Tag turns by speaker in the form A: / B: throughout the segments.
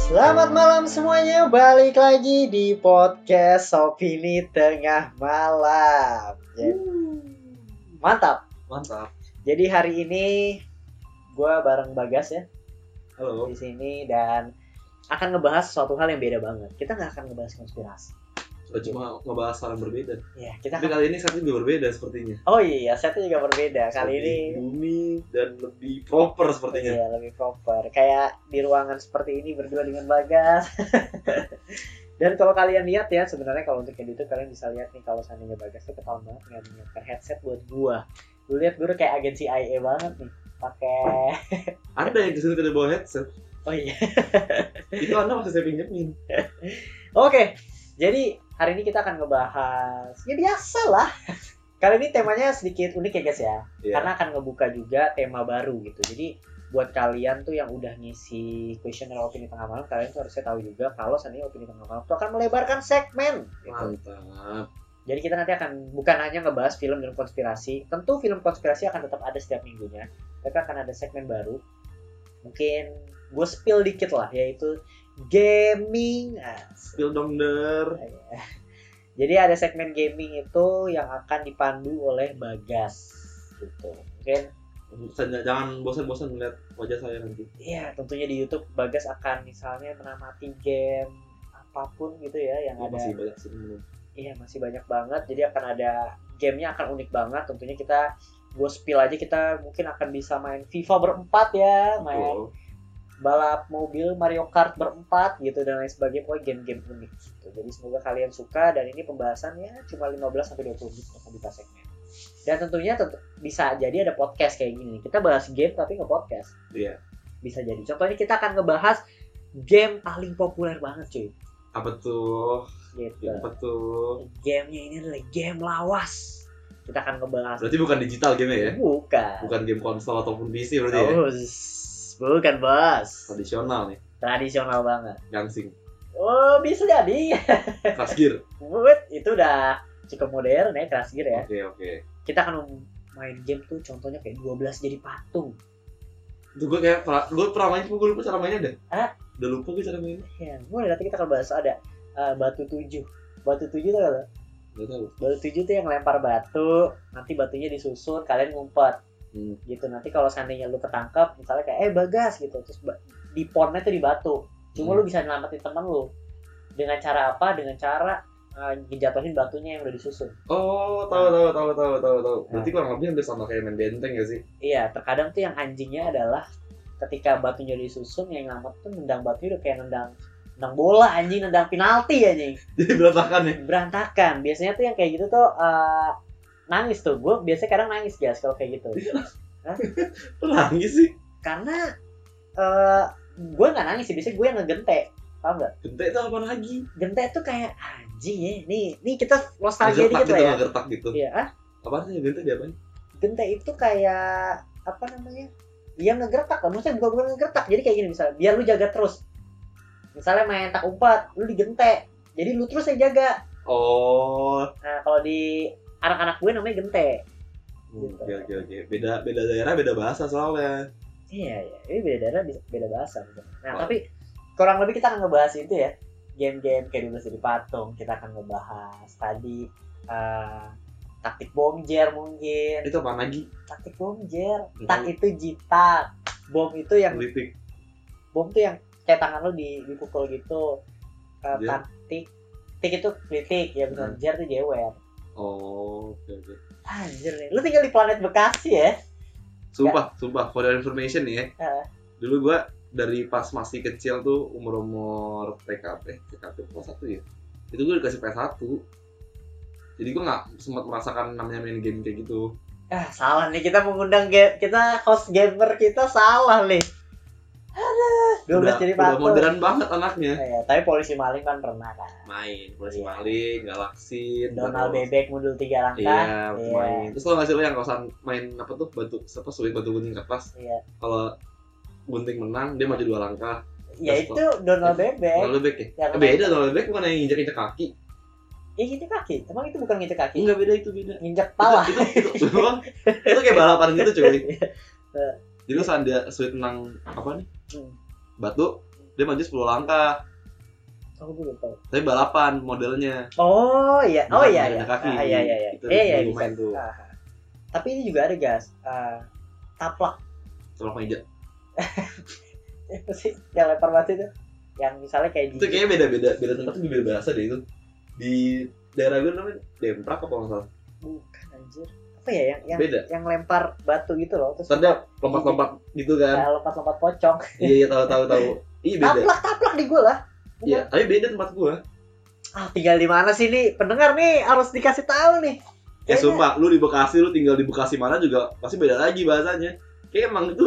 A: Selamat malam semuanya, balik lagi di podcast Opini Tengah Malam. Ya, Mantap.
B: Mantap.
A: Jadi hari ini gue bareng Bagas ya
B: Halo.
A: di sini dan akan ngebahas suatu hal yang beda banget. Kita nggak akan ngebahas konspirasi.
B: Kita cuma ngebahas hal yang berbeda.
A: Ya, kita
B: Tapi
A: akan...
B: kali ini satu juga berbeda sepertinya.
A: Oh iya, setnya juga berbeda kali
B: Lebih
A: ini.
B: bumi dan lebih proper sepertinya.
A: Iya, lebih proper. Kayak di ruangan seperti ini berdua dengan Bagas. Dan kalau kalian lihat ya, sebenarnya kalau untuk yang itu kalian bisa lihat nih kalau seandainya Bagas tuh ketahuan banget nggak menyiapkan headset buat gua. Lu lihat gua udah kayak agensi IA banget nih. Pakai
B: Ada yang kesini tidak bawa headset.
A: Oh iya.
B: Itu anda masih saya pinjemin.
A: Oke. Jadi hari ini kita akan ngebahas ya biasa lah. Kali ini temanya sedikit unik ya guys ya.
B: Iya.
A: karena akan ngebuka juga tema baru gitu. Jadi buat kalian tuh yang udah ngisi kuesioner opini tengah malam, kalian tuh harusnya tahu juga kalau seandainya opini tengah malam tuh akan melebarkan segmen. gitu.
B: Mantap.
A: Jadi kita nanti akan bukan hanya ngebahas film dan konspirasi. Tentu film konspirasi akan tetap ada setiap minggunya, tapi akan ada segmen baru. Mungkin gue spill dikit lah, yaitu gaming. Asik.
B: Still dong der.
A: Jadi ada segmen gaming itu yang akan dipandu oleh Bagas gitu. Mungkin
B: Jangan- Jangan bosan-bosan melihat wajah saya nanti.
A: Iya, tentunya di YouTube Bagas akan misalnya menamati game apapun gitu ya yang
B: Ini
A: ada.
B: Iya, masih banyak sih belum.
A: Iya, masih banyak banget. Jadi akan ada gamenya akan unik banget. Tentunya kita gue spill aja kita mungkin akan bisa main FIFA berempat ya, main
B: Oh,
A: balap mobil Mario Kart berempat gitu dan lain sebagainya. Pokoknya game-game unik gitu. Jadi semoga kalian suka dan ini pembahasannya cuma 15 sampai 20 menit akan kita segmen. Dan tentunya tentu- bisa jadi ada podcast kayak gini. Kita bahas game tapi nge-podcast
B: Iya.
A: bisa jadi. Contohnya kita akan ngebahas game paling populer banget cuy.
B: Apa tuh?
A: Gitu.
B: Apa tuh?
A: Gamenya ini adalah game lawas. Kita akan ngebahas.
B: Berarti bukan digital game ya?
A: Bukan.
B: Bukan game konsol ataupun PC berarti ya?
A: Oh, zzz, bukan bos.
B: Tradisional nih,
A: Tradisional banget.
B: gangsing,
A: Oh bisa jadi.
B: keras gear.
A: But itu udah cukup modern ya keras gear ya.
B: Oke oke.
A: Kita akan main game tuh contohnya kayak 12 jadi patung.
B: Itu gue kayak pra, gue pernah main, gue lupa cara mainnya deh.
A: Hah?
B: Udah lupa gue cara mainnya.
A: Ya, mulai nanti kita akan bahas ada eh, batu tujuh. Batu tujuh tuh apa?
B: Gak tahu.
A: Batu tujuh tuh yang lempar batu, nanti batunya disusun, kalian ngumpet.
B: Hmm.
A: gitu nanti kalau seandainya lu ketangkap misalnya kayak eh bagas gitu terus ba- di ponnya tuh di batu cuma lu bisa nyelamatin temen lu dengan cara apa dengan cara eh, ngejatuhin batunya yang udah disusun
B: Oh, tahu tahu tahu tahu tahu tahu. Berarti kurang lebih hampir sama kayak main benteng ya sih?
A: iya terkadang tuh yang anjingnya adalah ketika batunya disusun yang ngelamat tuh nendang batunya udah kayak nendang nendang bola anjing nendang penalti anjing
B: Jadi berantakan ya.
A: berantakan biasanya tuh yang kayak gitu tuh eh, nangis tuh gue biasanya kadang nangis guys kalau kayak gitu
B: Lu nangis sih.
A: karena eh gue nggak nangis sih biasanya gue yang ngegente paham nggak
B: Genteng itu apa lagi?
A: Genta itu kayak anjing ya. Nih, nih kita nostalgia dikit
B: Gertak gitu
A: lah ya.
B: nggak gertak gitu.
A: Iya, ah,
B: Apa sih genteng dia apa?
A: Genta itu kayak apa namanya? Yang ngegertak lah. Maksudnya bukan bukan ngegertak. Jadi kayak gini misalnya, biar lu jaga terus. Misalnya main tak umpat, lu digente. Jadi lu terus yang jaga.
B: Oh,
A: Nah, kalau di anak-anak gue namanya gente.
B: hmm,
A: Gitu.
B: oke oke oke. Beda beda daerah beda bahasa soalnya.
A: Iya, iya. Ini beda daerah, bisa- beda bahasa. gitu. Nah,
B: Wah.
A: tapi kurang lebih kita akan ngebahas itu ya. Game-game kayak dulu di patung. Kita akan ngebahas tadi eh, taktik bomjer mungkin.
B: Itu apa lagi?
A: taktik bom jer tak itu jitak bom itu yang
B: Politik.
A: bom tuh yang kayak tangan lo di dipukul gitu Eh,
B: Jer.
A: taktik tik itu kritik ya bukan jer tuh jewer
B: Oh, oke oke.
A: anjir nih lu tinggal di planet bekasi ya Eh,
B: Sumpah, sumpah for your information nih ya.
A: Heeh.
B: Dulu gua dari pas masih kecil tuh umur-umur TKP, TKP kelas 1 ya. Itu gua dikasih PS1. Jadi gua nggak sempat merasakan namanya main game kayak gitu.
A: ah salah nih kita mengundang ga- kita host gamer kita salah nih Aduh, 12
B: udah,
A: jadi
B: udah
A: patung.
B: modern banget anaknya.
A: Nah, ya, tapi polisi maling kan pernah kan
B: Main, polisi
A: Iya.
B: maling, galaksi,
A: Donald
B: terus-
A: Bebek mundur tiga
B: Iya,
A: langkah Iya.
B: main. Terus lo nggak sih lo yang kosan main apa tuh batu, apa sulit batu gunting kertas?
A: Iya.
B: Kalau gunting menang dia maju dua langkah.
A: ya itu Donald Bebek
B: Donald Bebek ya?
A: Yang
B: Eh, beda Donald Bebek bukan yang injak injak kaki.
A: ya gitu kaki emang itu bukan ngecek kaki
B: Enggak beda itu beda.
A: nginjek pala
B: Itu, itu, itu, memang- itu kayak balapan gitu cuy. Jadi lu seandainya sweet menang apa nih?
A: Iya. Hmm.
B: Batu, dia maju 10 langkah Iya.
A: Aku juga tahu.
B: tapi balapan modelnya
A: Oh iya, oh
B: Bukan
A: iya
B: jalan
A: iya.
B: kaki.
A: Ah, iya iya iya.
B: Itu
A: Iya iya
B: dulu
A: bisa.
B: main tuh.
A: Ah, ah. Tapi ini juga ada gas. Ah, taplak
B: tolak meja
A: apa sih yang lempar batu itu? Yang misalnya kayak di
B: itu kayaknya beda beda beda tempat tuh beda bahasa deh itu di daerah gue namanya Demprak apa nggak salah
A: bukan anjir. Apa ya yang yang
B: Beda.
A: yang lempar batu gitu loh terus
B: Terus ada lompat-lompat gitu kan
A: ah, lompat-lompat pocong.
B: iya iya tahu tahu tahu iya beda
A: Taplak taplak di gua lah.
B: iya tapi beda tempat gua
A: Ah, tinggal di mana sih nih? Pendengar nih harus dikasih tahu nih.
B: ya
A: Kayaknya-
B: sumpah lu di Bekasi lu tinggal di Bekasi mana juga pasti beda lagi bahasanya kayak emang itu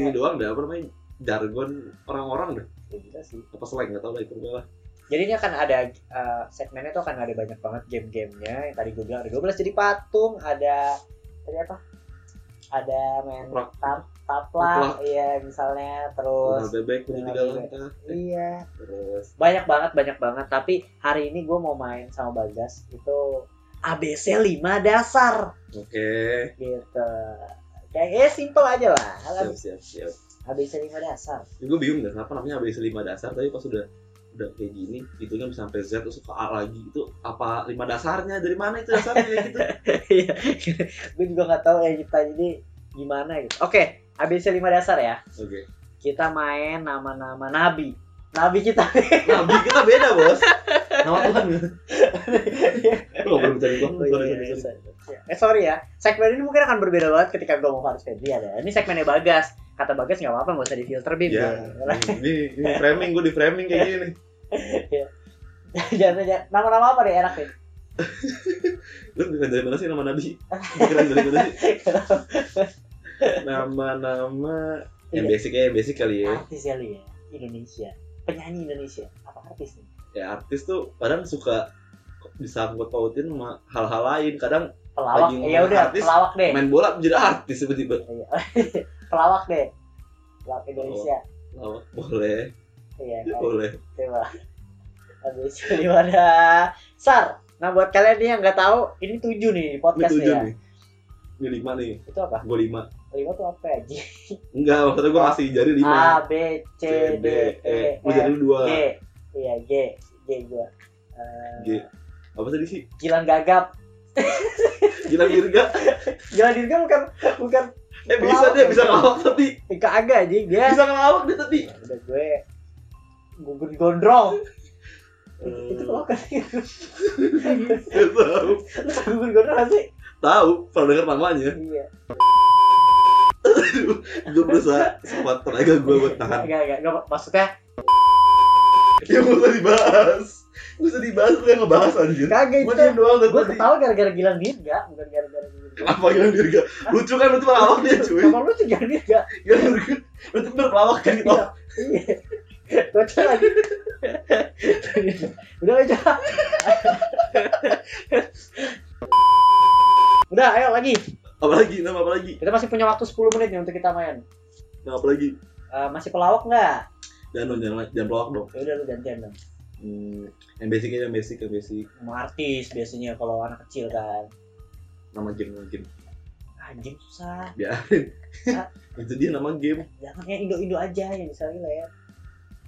B: ini doang deh apa namanya jargon orang-orang deh
A: Ya, gila sih.
B: apa slang nggak tahu lah itu lah
A: Jadi ini akan ada uh, segmennya tuh akan ada banyak banget game-gamenya yang tadi gue bilang ada 12 jadi patung, ada tadi apa? Ada main
B: Taplak.
A: tap
B: Taplak.
A: taplak, iya misalnya
B: Terus
A: terus
B: bebek punya tiga
A: Terus-
B: langkah. Eh,
A: iya
B: Terus
A: banyak banget banyak banget tapi hari ini gue mau main sama Bagas itu ABC 5 dasar
B: oke.
A: gitu. Kayak eh, simple aja lah.
B: Siap siap siap.
A: ABC 5 dasar.
B: Ini gue bingung deh kenapa namanya ABC 5 dasar tapi pas udah udah kayak gini gitu kan sampai Z terus ke A lagi itu apa lima dasarnya dari mana itu dasarnya ya gitu
A: gue juga nggak tahu ya kita jadi gimana gitu. Oke, ABC 5 dasar ya.
B: oke
A: kita main nama-nama nabi nabi kita
B: nabi kita beda bos nama Tuhan lu nggak boleh bicara itu
A: Oh, iya, iya, iya. eh sorry ya segmen ini mungkin akan berbeda banget ketika gue mau Faris Febri ada ini segmennya Bagas kata Bagas nggak apa-apa nggak usah di filter bim
B: ya ini, ini framing gue di framing kayak gini
A: jangan jangan nama-nama apa deh enak nih
B: lu bukan dari mana sih nama nabi pikiran dari mana sih nama-nama yang
A: Iya.
B: basic ya yang basic kali ya
A: artis ya lu ya Indonesia penyanyi Indonesia apa artis nih
B: ya artis tuh kadang suka disangkut pautin sama hal-hal lain kadang
A: pelawak
B: Lagi
A: ya udah
B: ngomongin artis,
A: pelawak deh
B: main bola menjadi artis tiba-tiba
A: Iya. pelawak deh pelawak Indonesia
B: lawak Oh, boleh
A: iya kan?
B: boleh
A: Coba. Habis gimana? Sar. Nah buat kalian nih yang nggak tahu, ini tujuh nih di
B: ini
A: podcast
B: tujuh
A: ya.
B: nih ini lima nih
A: Itu apa?
B: gue lima
A: Lima tuh apa ya? G,
B: enggak maksudnya gue ngasih jari lima
A: A, B, Oh. Ah, C, D, E,
B: gue jari
A: F,
B: lu dua
A: G. Iya G, G gua. Eh,
B: G apa tadi sih
A: Gilang gagap.
B: gila Mirga
A: Gilang Dirga bukan bukan
B: eh bisa deh bisa ngelawak tapi
A: Ika Aga aja dia.
B: bisa ngelawak deh tapi
A: Ya Udah gue gugur gondrong. Itu lo kan
B: Nggak Hmm. tahu
A: gugur gondrong nggak sih?
B: tahu pernah dengar namanya
A: Iya.
B: gue berusaha sekuat tenaga gue buat tahan
A: Enggak enggak enggak maksudnya
B: Ya gak usah dibahas Gak usah dibahas, lu yang ngebahas anjir
A: kagak
B: Gue
A: itu.
B: diem doang dari
A: Gue
B: tadi
A: ketawa gara-gara Gilang Dirga, bukan gara-gara Gilang Dirga.
B: Apa Gilang Dirga? Lucu kan, lu tuh pelawak dia cuy
A: Kamar lu tuh jangan dia gak
B: Gilang Dirga Lu tuh bener pelawak kan gitu
A: Iya. Baca lagi Udah aja Udah ayo lagi
B: Apalagi, nama apalagi?
A: Kita masih punya waktu 10 menit nih untuk kita main
B: Nama apalagi?
A: Eh, Masih pelawak gak?
B: Jangan dong, jangan, jangan pelawak dong
A: Ya udah lu gantian dong
B: hmm, Yang basic aja, yang basic, yang basic
A: Mau artis biasanya kalau anak kecil kan Ah,
B: Nama game, nama game
A: Anjing susah
B: Biarin
A: Ah.
B: Itu dia nama game
A: Jangan yang indo-indo aja yang bisa relate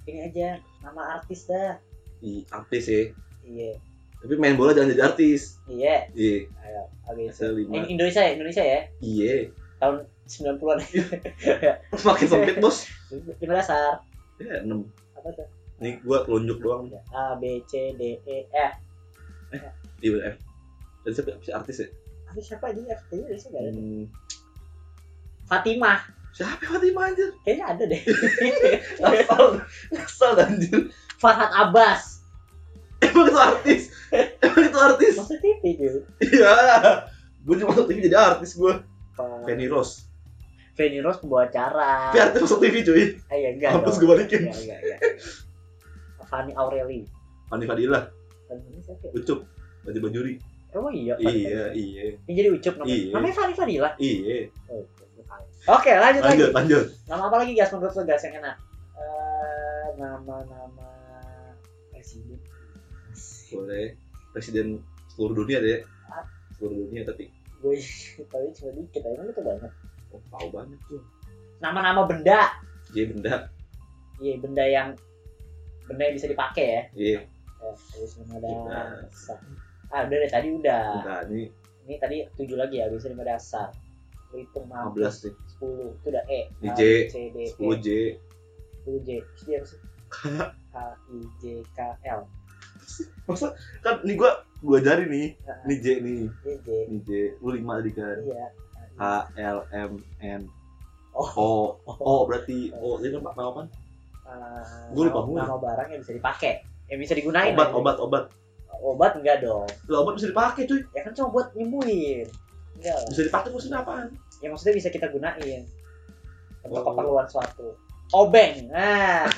A: Ini aja Nama artis dah
B: Di artis ya
A: Iya
B: Tapi main bola jangan jadi artis
A: Iya
B: Iya
A: Ayo ABC
B: Asal
A: Eh,
B: lima
A: Indonesia ya Indonesia ya
B: Iya
A: 90-an
B: Makin sempit bos
A: Lima dasar
B: Ya, enam
A: Apa tuh?
B: Ini gua telunjuk doang
A: Udah, A B C D E F.
B: Di F Tadi siapa siapa sih artis ya?
A: Tapi siapa aja F? Kayaknya Indonesia nggak ada. deh.
B: Hmm,
A: Fatimah.
B: Siapa yang mati anjir?
A: Kayaknya ada deh.
B: Asal Asal anjir
A: Farhat Abbas.
B: Emang itu artis? Emang itu artis?
A: Maksud TV gitu.
B: Iya Gue cuma masuk TV jadi artis gue Penny Rose
A: Feni Rose pembawa acara.
B: Tapi artis masuk TV cuy
A: Ah, iya, enggak.
B: Kampus
A: dong.
B: gue balikin
A: Enggak, enggak, enggak. Fanny Aureli.
B: Fani Fadila
A: Fanny Indonesia kayak-
B: Ucup Baju Bajuri
A: Emang iya. Fanny
B: Iya iya
A: Ini jadi ucup namanya.
B: Iya.
A: Namanya Fanny Fadila.
B: Iya
A: Oh, Oke, lanjut,
B: Lanjut
A: lagi.
B: lanjut
A: Nama apa lagi gas menurut lo gas yang enak? Eh, nama-nama presiden.
B: Boleh Presiden seluruh dunia deh Seluruh dunia tapi
A: Gue tahu cuma dikit, emang itu banyak.
B: Oh tau banyak tuh
A: Nama-nama benda.
B: Dia Iya, benda
A: iya benda yang benda yang bisa dipakai ya
B: Iya,
A: ya habis
B: Udah.
A: mengenal dasar ah udah deh tadi udah
B: nah ini
A: ini tadi tujuh lagi ya habis mengenal dasar Lu hitung maaf
B: 15 nih.
A: sepuluh itu udah E
B: Oh, Di
A: A,
B: J,
A: C D E
B: 10 J,
A: sepuluh J Terus dia harus- H I J K L
B: Masa kan ini gua gua jari nih.
A: Nah,
B: Ini J nih,
A: J J
B: ini J. Lu 5 tadi kan.
A: iya
B: H L M N
A: oh
B: O. O berarti O jadi kan nama apa?
A: ah,
B: Gua lupa
A: nama,
B: mulu.
A: nama barang yang bisa dipakai yang bisa digunain
B: Obat,
A: aja.
B: obat, obat.
A: obat enggak dong
B: Lah obat bisa dipakai, cuy.
A: ya kan cuma buat nyembuhin enggak lah
B: Bisa dipakai maksudnya apaan?
A: ya maksudnya bisa kita gunain untuk
B: Oh.
A: keperluan suatu obeng nah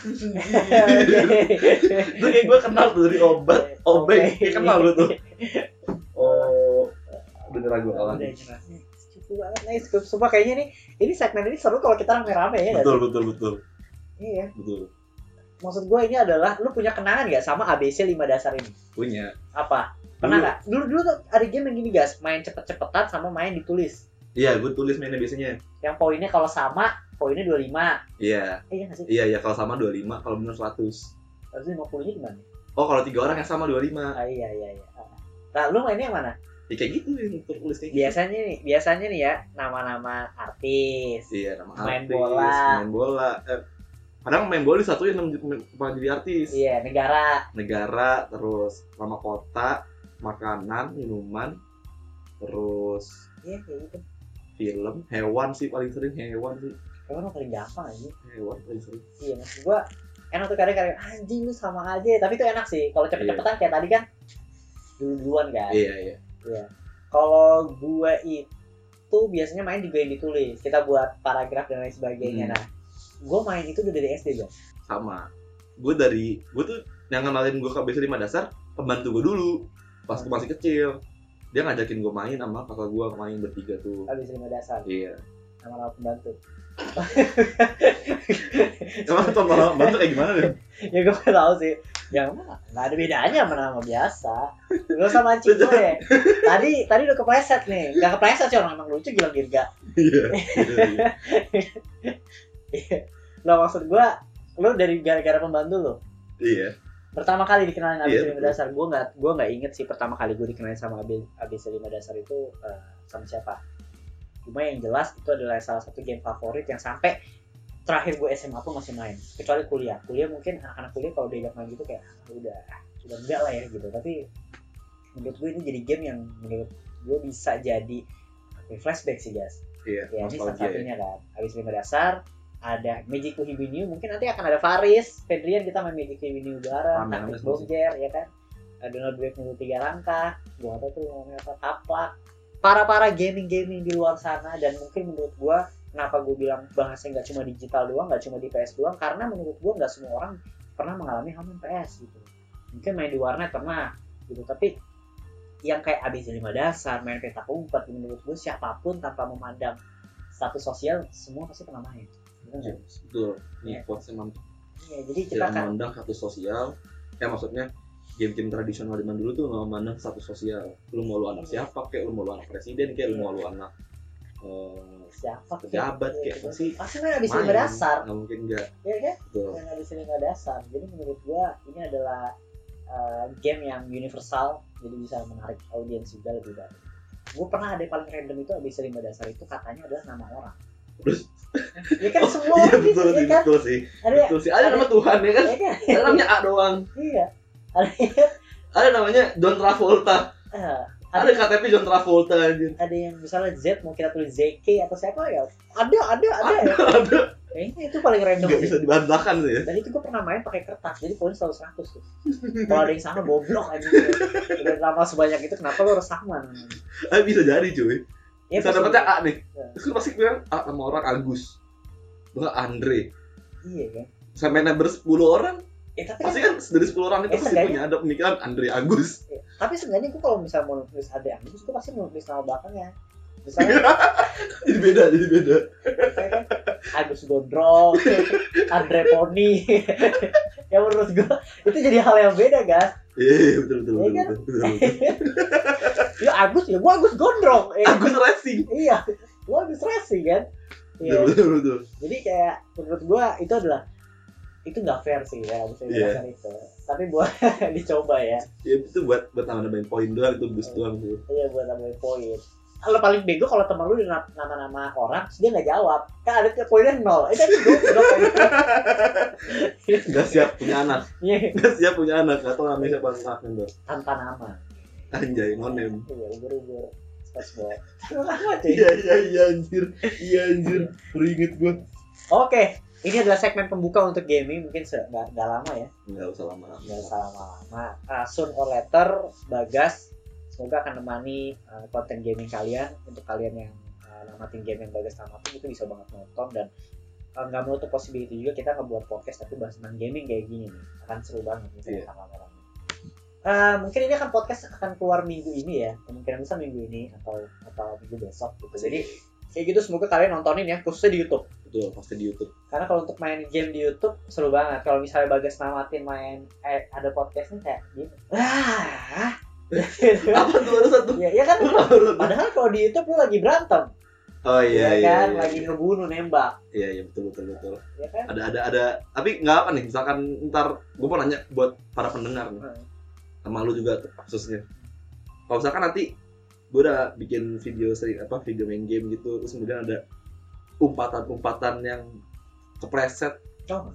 B: Itu kayak gua kenal tuh dari obat, obeng. Ya, kan Kayak kenal gua tuh. Oh, beneran gua kalah.
A: Udah, jelasnya. Cukup banget nice cukup semua kayaknya nih ini segmen ini seru kalau kita rame-rame ya nggak
B: Betul,
A: sih?
B: betul, betul,
A: iya
B: betul.
A: maksud gue ini adalah lu punya kenangan nggak sama ABC 5 dasar ini
B: Punya.
A: apa pernah
B: Dulu-
A: nggak dulu dulu tuh ada game yang gini guys main cepet-cepetan sama main ditulis
B: Iya, gua tulis mainnya biasanya.
A: yang poinnya kalau sama poinnya 25
B: Iya,
A: eh, iya nggak sih
B: iya, iya. Kalau sama 25, kalau bener 100.
A: harusnya 50 nya gimana
B: Oh, kalau tiga orang yang sama 25.
A: ah, iya iya iya Ah. nah lu mainnya yang mana
B: Ya kayak gitu yang tertulis kayak gitu.
A: biasanya nih biasanya nih ya nama-nama artis
B: Iya, nama
A: Main
B: artis,
A: bola.
B: main bola. Eh, kadang main bola satu yang pernah jadi artis.
A: iya negara
B: Negara, terus nama kota, makanan, minuman, terus
A: iya kayak gitu
B: film, hewan sih paling sering hewan sih.
A: emang yang paling gampang aja
B: Hewan paling sering.
A: iya maksud gua enak tuh kadang-kadang anjing lu sama aja tapi itu enak sih kalau cepet-cepetan kayak tadi kan dulu-duluan kan
B: Iya, iya.
A: kalau gue itu biasanya main juga yang ditulis kita buat paragraf dan lain sebagainya
B: Hmm.
A: nah gue main itu udah dari SD guys
B: Sama. Gue dari gue tuh yang kenalin gue ke BC 5 dasar pembantu gue dulu pas gue masih kecil. Dia ngajakin gue main sama kakak gue main bertiga tuh.
A: habis lima dasar
B: Iya.
A: sama nama pembantu
B: Emang contoh bantu kayak gimana deh?
A: ya gue gak tau sih ya emang nggak ada bedanya sama nama biasa lu sama mancing gue deh tadi tadi udah kepleset nih nggak kepleset sih orang emang lucu gila girga
B: Iya. iya, iya.
A: lo Iya. maksud gue lo dari gara-gara pembantu lo
B: Iya.
A: pertama kali dikenalin ABC
B: Iya,
A: lima
B: betul.
A: dasar gue nggak gue nggak inget sih pertama kali gue dikenalin sama AB- ABC lima dasar itu eh, sama siapa cuma yang jelas itu adalah salah satu game favorit yang sampai terakhir gue SMA pun masih main kecuali kuliah kuliah mungkin anak-anak kuliah kalau diajak main gitu kayak "Ah, udah udah enggak lah ya gitu tapi menurut gue ini jadi game yang menurut gue bisa jadi ya, flashback sih guys
B: Iya.
A: ya ini salah
B: nostalgia ya.
A: satunya kan habis lima dasar ada Magic Uhibiniu mungkin nanti akan ada Faris Fedrian kita main Magic Uhibiniu bareng
B: Amin, amin,
A: Taktik
B: semoga.
A: Boger ya kan Ada Donald Blake mulu tiga langkah gua nggak tahu tuh ngomongnya apa taplak para para gaming gaming di luar sana dan mungkin menurut gua kenapa gua bilang bahasanya nggak cuma digital doang nggak cuma di PS doang karena menurut gua nggak semua orang pernah mengalami hal yang PS gitu mungkin main di warnet pernah gitu tapi yang kayak ABC 5 dasar main petak umpet menurut gue siapapun tanpa memandang status sosial semua pasti pernah main Bener
B: Iya.
A: nggak?
B: Betul. Nih quotes emang
A: iya jadi Iya, kita
B: tidak
A: akan
B: memandang status sosial. Ya maksudnya game-game tradisional zaman dulu tuh nggak memandang status sosial. Lu mau lu anak
A: Iya.
B: siapa kayak lu mau lu anak presiden kayak lu mau lu anak eh,
A: siapa kayak-
B: pejabat
A: iya,
B: kayak
A: gitu.
B: pasti
A: pasti main ABC
B: main.
A: 5 dasar
B: Nggak mungkin enggak.
A: ya kan
B: Betul.
A: yang ABC 5 dasar jadi menurut gue ini adalah eh, game yang universal jadi bisa menarik audiens juga lebih banyak gue pernah ada yang paling random itu ABC 5 dasar itu katanya adalah nama orang
B: Terus
A: ya kan
B: Oh,
A: semua
B: iya
A: orang gitu,
B: betul sih,
A: ya kan
B: betul sih.
A: ada ya
B: Betul sih. Ada nama Tuhan ya kan?
A: kan
B: Ada namanya A doang.
A: iya ada
B: Ada namanya John Travolta.
A: eh,
B: Ada KTP John Travolta anjir.
A: ada yang misalnya Z mau kita tulis ZK atau siapa ya ada ada ada ya Iya.
B: Ada
A: kayaknya itu paling random
B: nggak
A: sih
B: bisa dibantahkan sih. ya.
A: dan itu gue pernah main pakai kertas jadi poin selalu 100 tuh kalau ada yang sama goblok aja udah lama sebanyak itu kenapa lo harus sama
B: Eh bisa jadi cuy.
A: ya
B: Bisa
A: pasti-
B: dapetnya ah. A nih.
A: Ya.
B: Terus lu pasti bilang A sama orang Agus. Enggak Andre.
A: iya kan
B: Sampai number 10 orang,
A: ya tapi kan
B: pasti kan dari 10 orang itu
A: Eh,
B: pasti
A: seenggaknya-
B: punya ada pemikiran Andre Agus.
A: tapi sebenarnya gue kalau misalnya mau nulis ada yang gue pasti mau nulis nama belakangnya misalnya
B: jadi beda, jadi beda.
A: kayak kan Agus Gondrong Andre Poni ya menurut gue itu jadi hal yang beda guys
B: Iya, iya, betul betul
A: Iya
B: betul.
A: kan?
B: betul, betul, betul.
A: ya Agus ya gua Agus gondrong eh,
B: Agus Racing.
A: iya gua Agus racing kan
B: Betul
A: Iya.
B: betul betul.
A: jadi kayak menurut gua itu adalah itu nggak fair sih ya bisa
B: Iya.
A: dibilang itu tapi buat dicoba ya
B: ya itu buat buat tambah nambahin poin doang itu boost doang tuh
A: iya buat tambahin poin kalau paling bego kalau temen lu dengan nama-nama orang terus dia nggak jawab kan ada poinnya nol itu bego bego
B: nggak siap punya anak
A: Iya,
B: nggak siap punya anak atau namanya siapa anak tuh
A: tanpa nama
B: anjay ngonem
A: iya ubur-ubur Spongebob. Nama cuy.
B: iya iya iya anjir iya anjir keringet gua
A: Oke, ini adalah segmen pembuka untuk gaming mungkin se- nggak nggak lama ya,
B: nggak usah lama-lama
A: nggak usah lama-lama. Ah, soon or later, Bagas semoga akan menemani ah, konten gaming kalian untuk kalian yang ah, namatin game yang Bagas namatin itu bisa banget nonton dan ah, nggak menutup possibility juga kita ngebuat podcast tapi bahas tentang gaming kayak gini nih akan seru banget mungkin
B: Iya.
A: akan rame-rame. Ah, mungkin ini akan podcast akan keluar minggu ini ya kemungkinan bisa minggu ini atau atau minggu besok gitu jadi kayak gitu semoga kalian nontonin ya khususnya di YouTube
B: betul pasti di YouTube
A: karena kalau untuk main game di YouTube seru banget kalau misalnya bagas namatin main eh, ada podcastnya kayak gitu ah gitu.
B: apa tuh baru satu
A: ya, ya kan
B: Baru satu.
A: padahal kalau di YouTube lu lagi berantem
B: oh iya
A: ya
B: iya
A: kan
B: iya.
A: lagi ngebunuh nembak
B: iya iya betul betul betul
A: ya kan
B: ada ada ada tapi nggak apa nih misalkan ntar gue mau nanya buat para pendengar nih
A: Hmm.
B: sama lu juga tuh, khususnya kalau misalkan nanti gue udah bikin video seri apa video main game gitu terus kemudian ada umpatan-umpatan yang kepreset
A: Oh,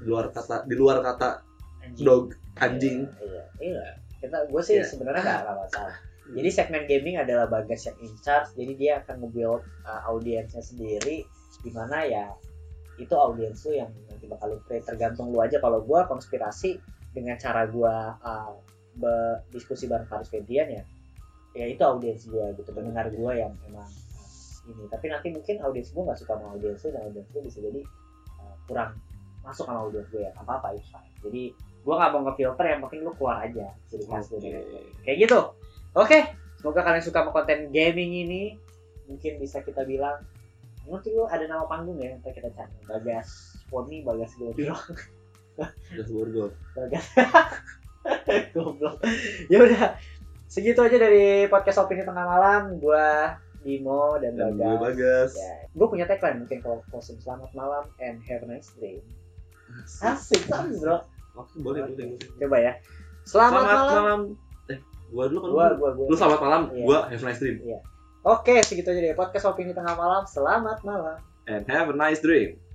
B: di luar kata di luar kata
A: anjing
B: dog anjing
A: iya iya, iya. kita gue sih
B: Iya. Hmm.
A: sebenarnya nggak nggak masalah jadi segmen gaming adalah bagas yang in charge jadi dia akan nge-build uh, audiensnya sendiri dimana ya itu audiens lu yang nanti bakal lu create tergantung lu aja kalau gua konspirasi dengan cara gua uh, berdiskusi bareng Faris Fedian ya ya itu audiens gua gitu pendengar gua yang emang uh, ini tapi nanti mungkin audiens gua nggak suka sama audiens lu dan audiens lu bisa jadi uh, kurang masuk sama audiens gua ya apa apa itu jadi gua nggak mau ngefilter yang penting lu keluar aja ciri khas lu dari kayak gitu oke semoga kalian suka sama konten gaming ini mungkin bisa kita bilang nanti lu ada nama panggung ya nanti kita cari bagas Pony, bagas Godiro, Iya.
B: udah borgol
A: bagas goblok ya udah segitu aja dari podcast opini tengah malam gua Dimo dan
B: dan gue
A: Bagas
B: bagas
A: ya. Gue punya tagline mungkin kalau closing selamat malam and have a nice day. Asik
B: Asik.
A: kan bro.
B: oke boleh boleh boleh.
A: Coba ya. Selamat, malam.
B: eh gue dulu kan
A: Gua gua gua.
B: lu selamat malam
A: Iya.
B: gue have a nice dream
A: Oke, segitu aja deh podcast opini tengah malam. Selamat malam.
B: and have a nice dream